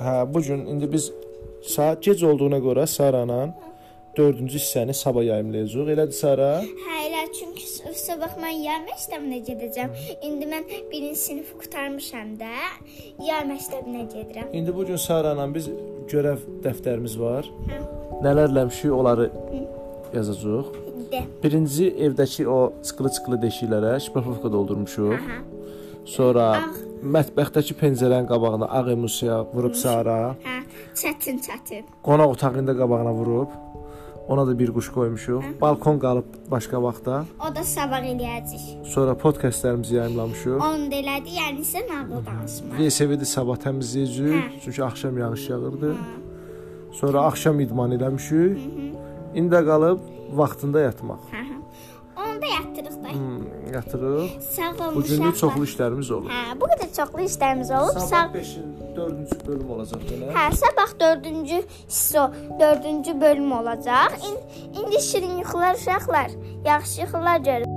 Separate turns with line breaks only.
Hə, bu gün indi biz saat gec olduğuna görə Saranın 4-cü hissəni sabah yayımlayacağıq. Elədir Sara?
Hə, elə çünki s- sabah mən yay məktəbinə gedəcəm. İndi mən 1-ci sinifi qurtarmışam da, yay məktəbinə gedirəm.
İndi bu gün Saranla biz görəv dəftərimiz var.
Hə.
Nələrləmişik onları yazacağıq.
De.
Birinci evdəki o çıxılı-çıxılı deşiklərə şpafovka doldurmuşuq.
Aha.
Sonra
Ağ.
mətbəxdəki pəncərənin qabağına ağ emulsiya vurub Sara.
Hə, çətin çətin.
Qonaq otağında qabağına vurub. Ona da bir quş qoymuşuq. Balkon qalıb başqa vaxtda.
O da sabah eləyəcək.
Sonra podkastlarımızı yayımlamışıq.
Onu da elədi, yəni isə nağıl danışmaq.
VSV-də sabah təmizləyəcəyik,
Hə.
çünki axşam yağış yağırdı. Sonra axşam idman eləmişik. İndi də qalıb vaxtında yatmaq.
Hə, hə. Onu da yatdırıq da.
Hmm, Yatırıq.
Sağ olun.
Bu günlük
uşaqlar.
çoxlu işlərimiz olur.
Hə, bu qədər çoxlu işlərimiz olub. Sağ
5-in 4-cü bölüm olacaq belə.
Hə, sabah 4-cü hisso, 4-cü bölüm olacaq. İn- İndi şirin yuxular uşaqlar. Yaxşı yuxular görün.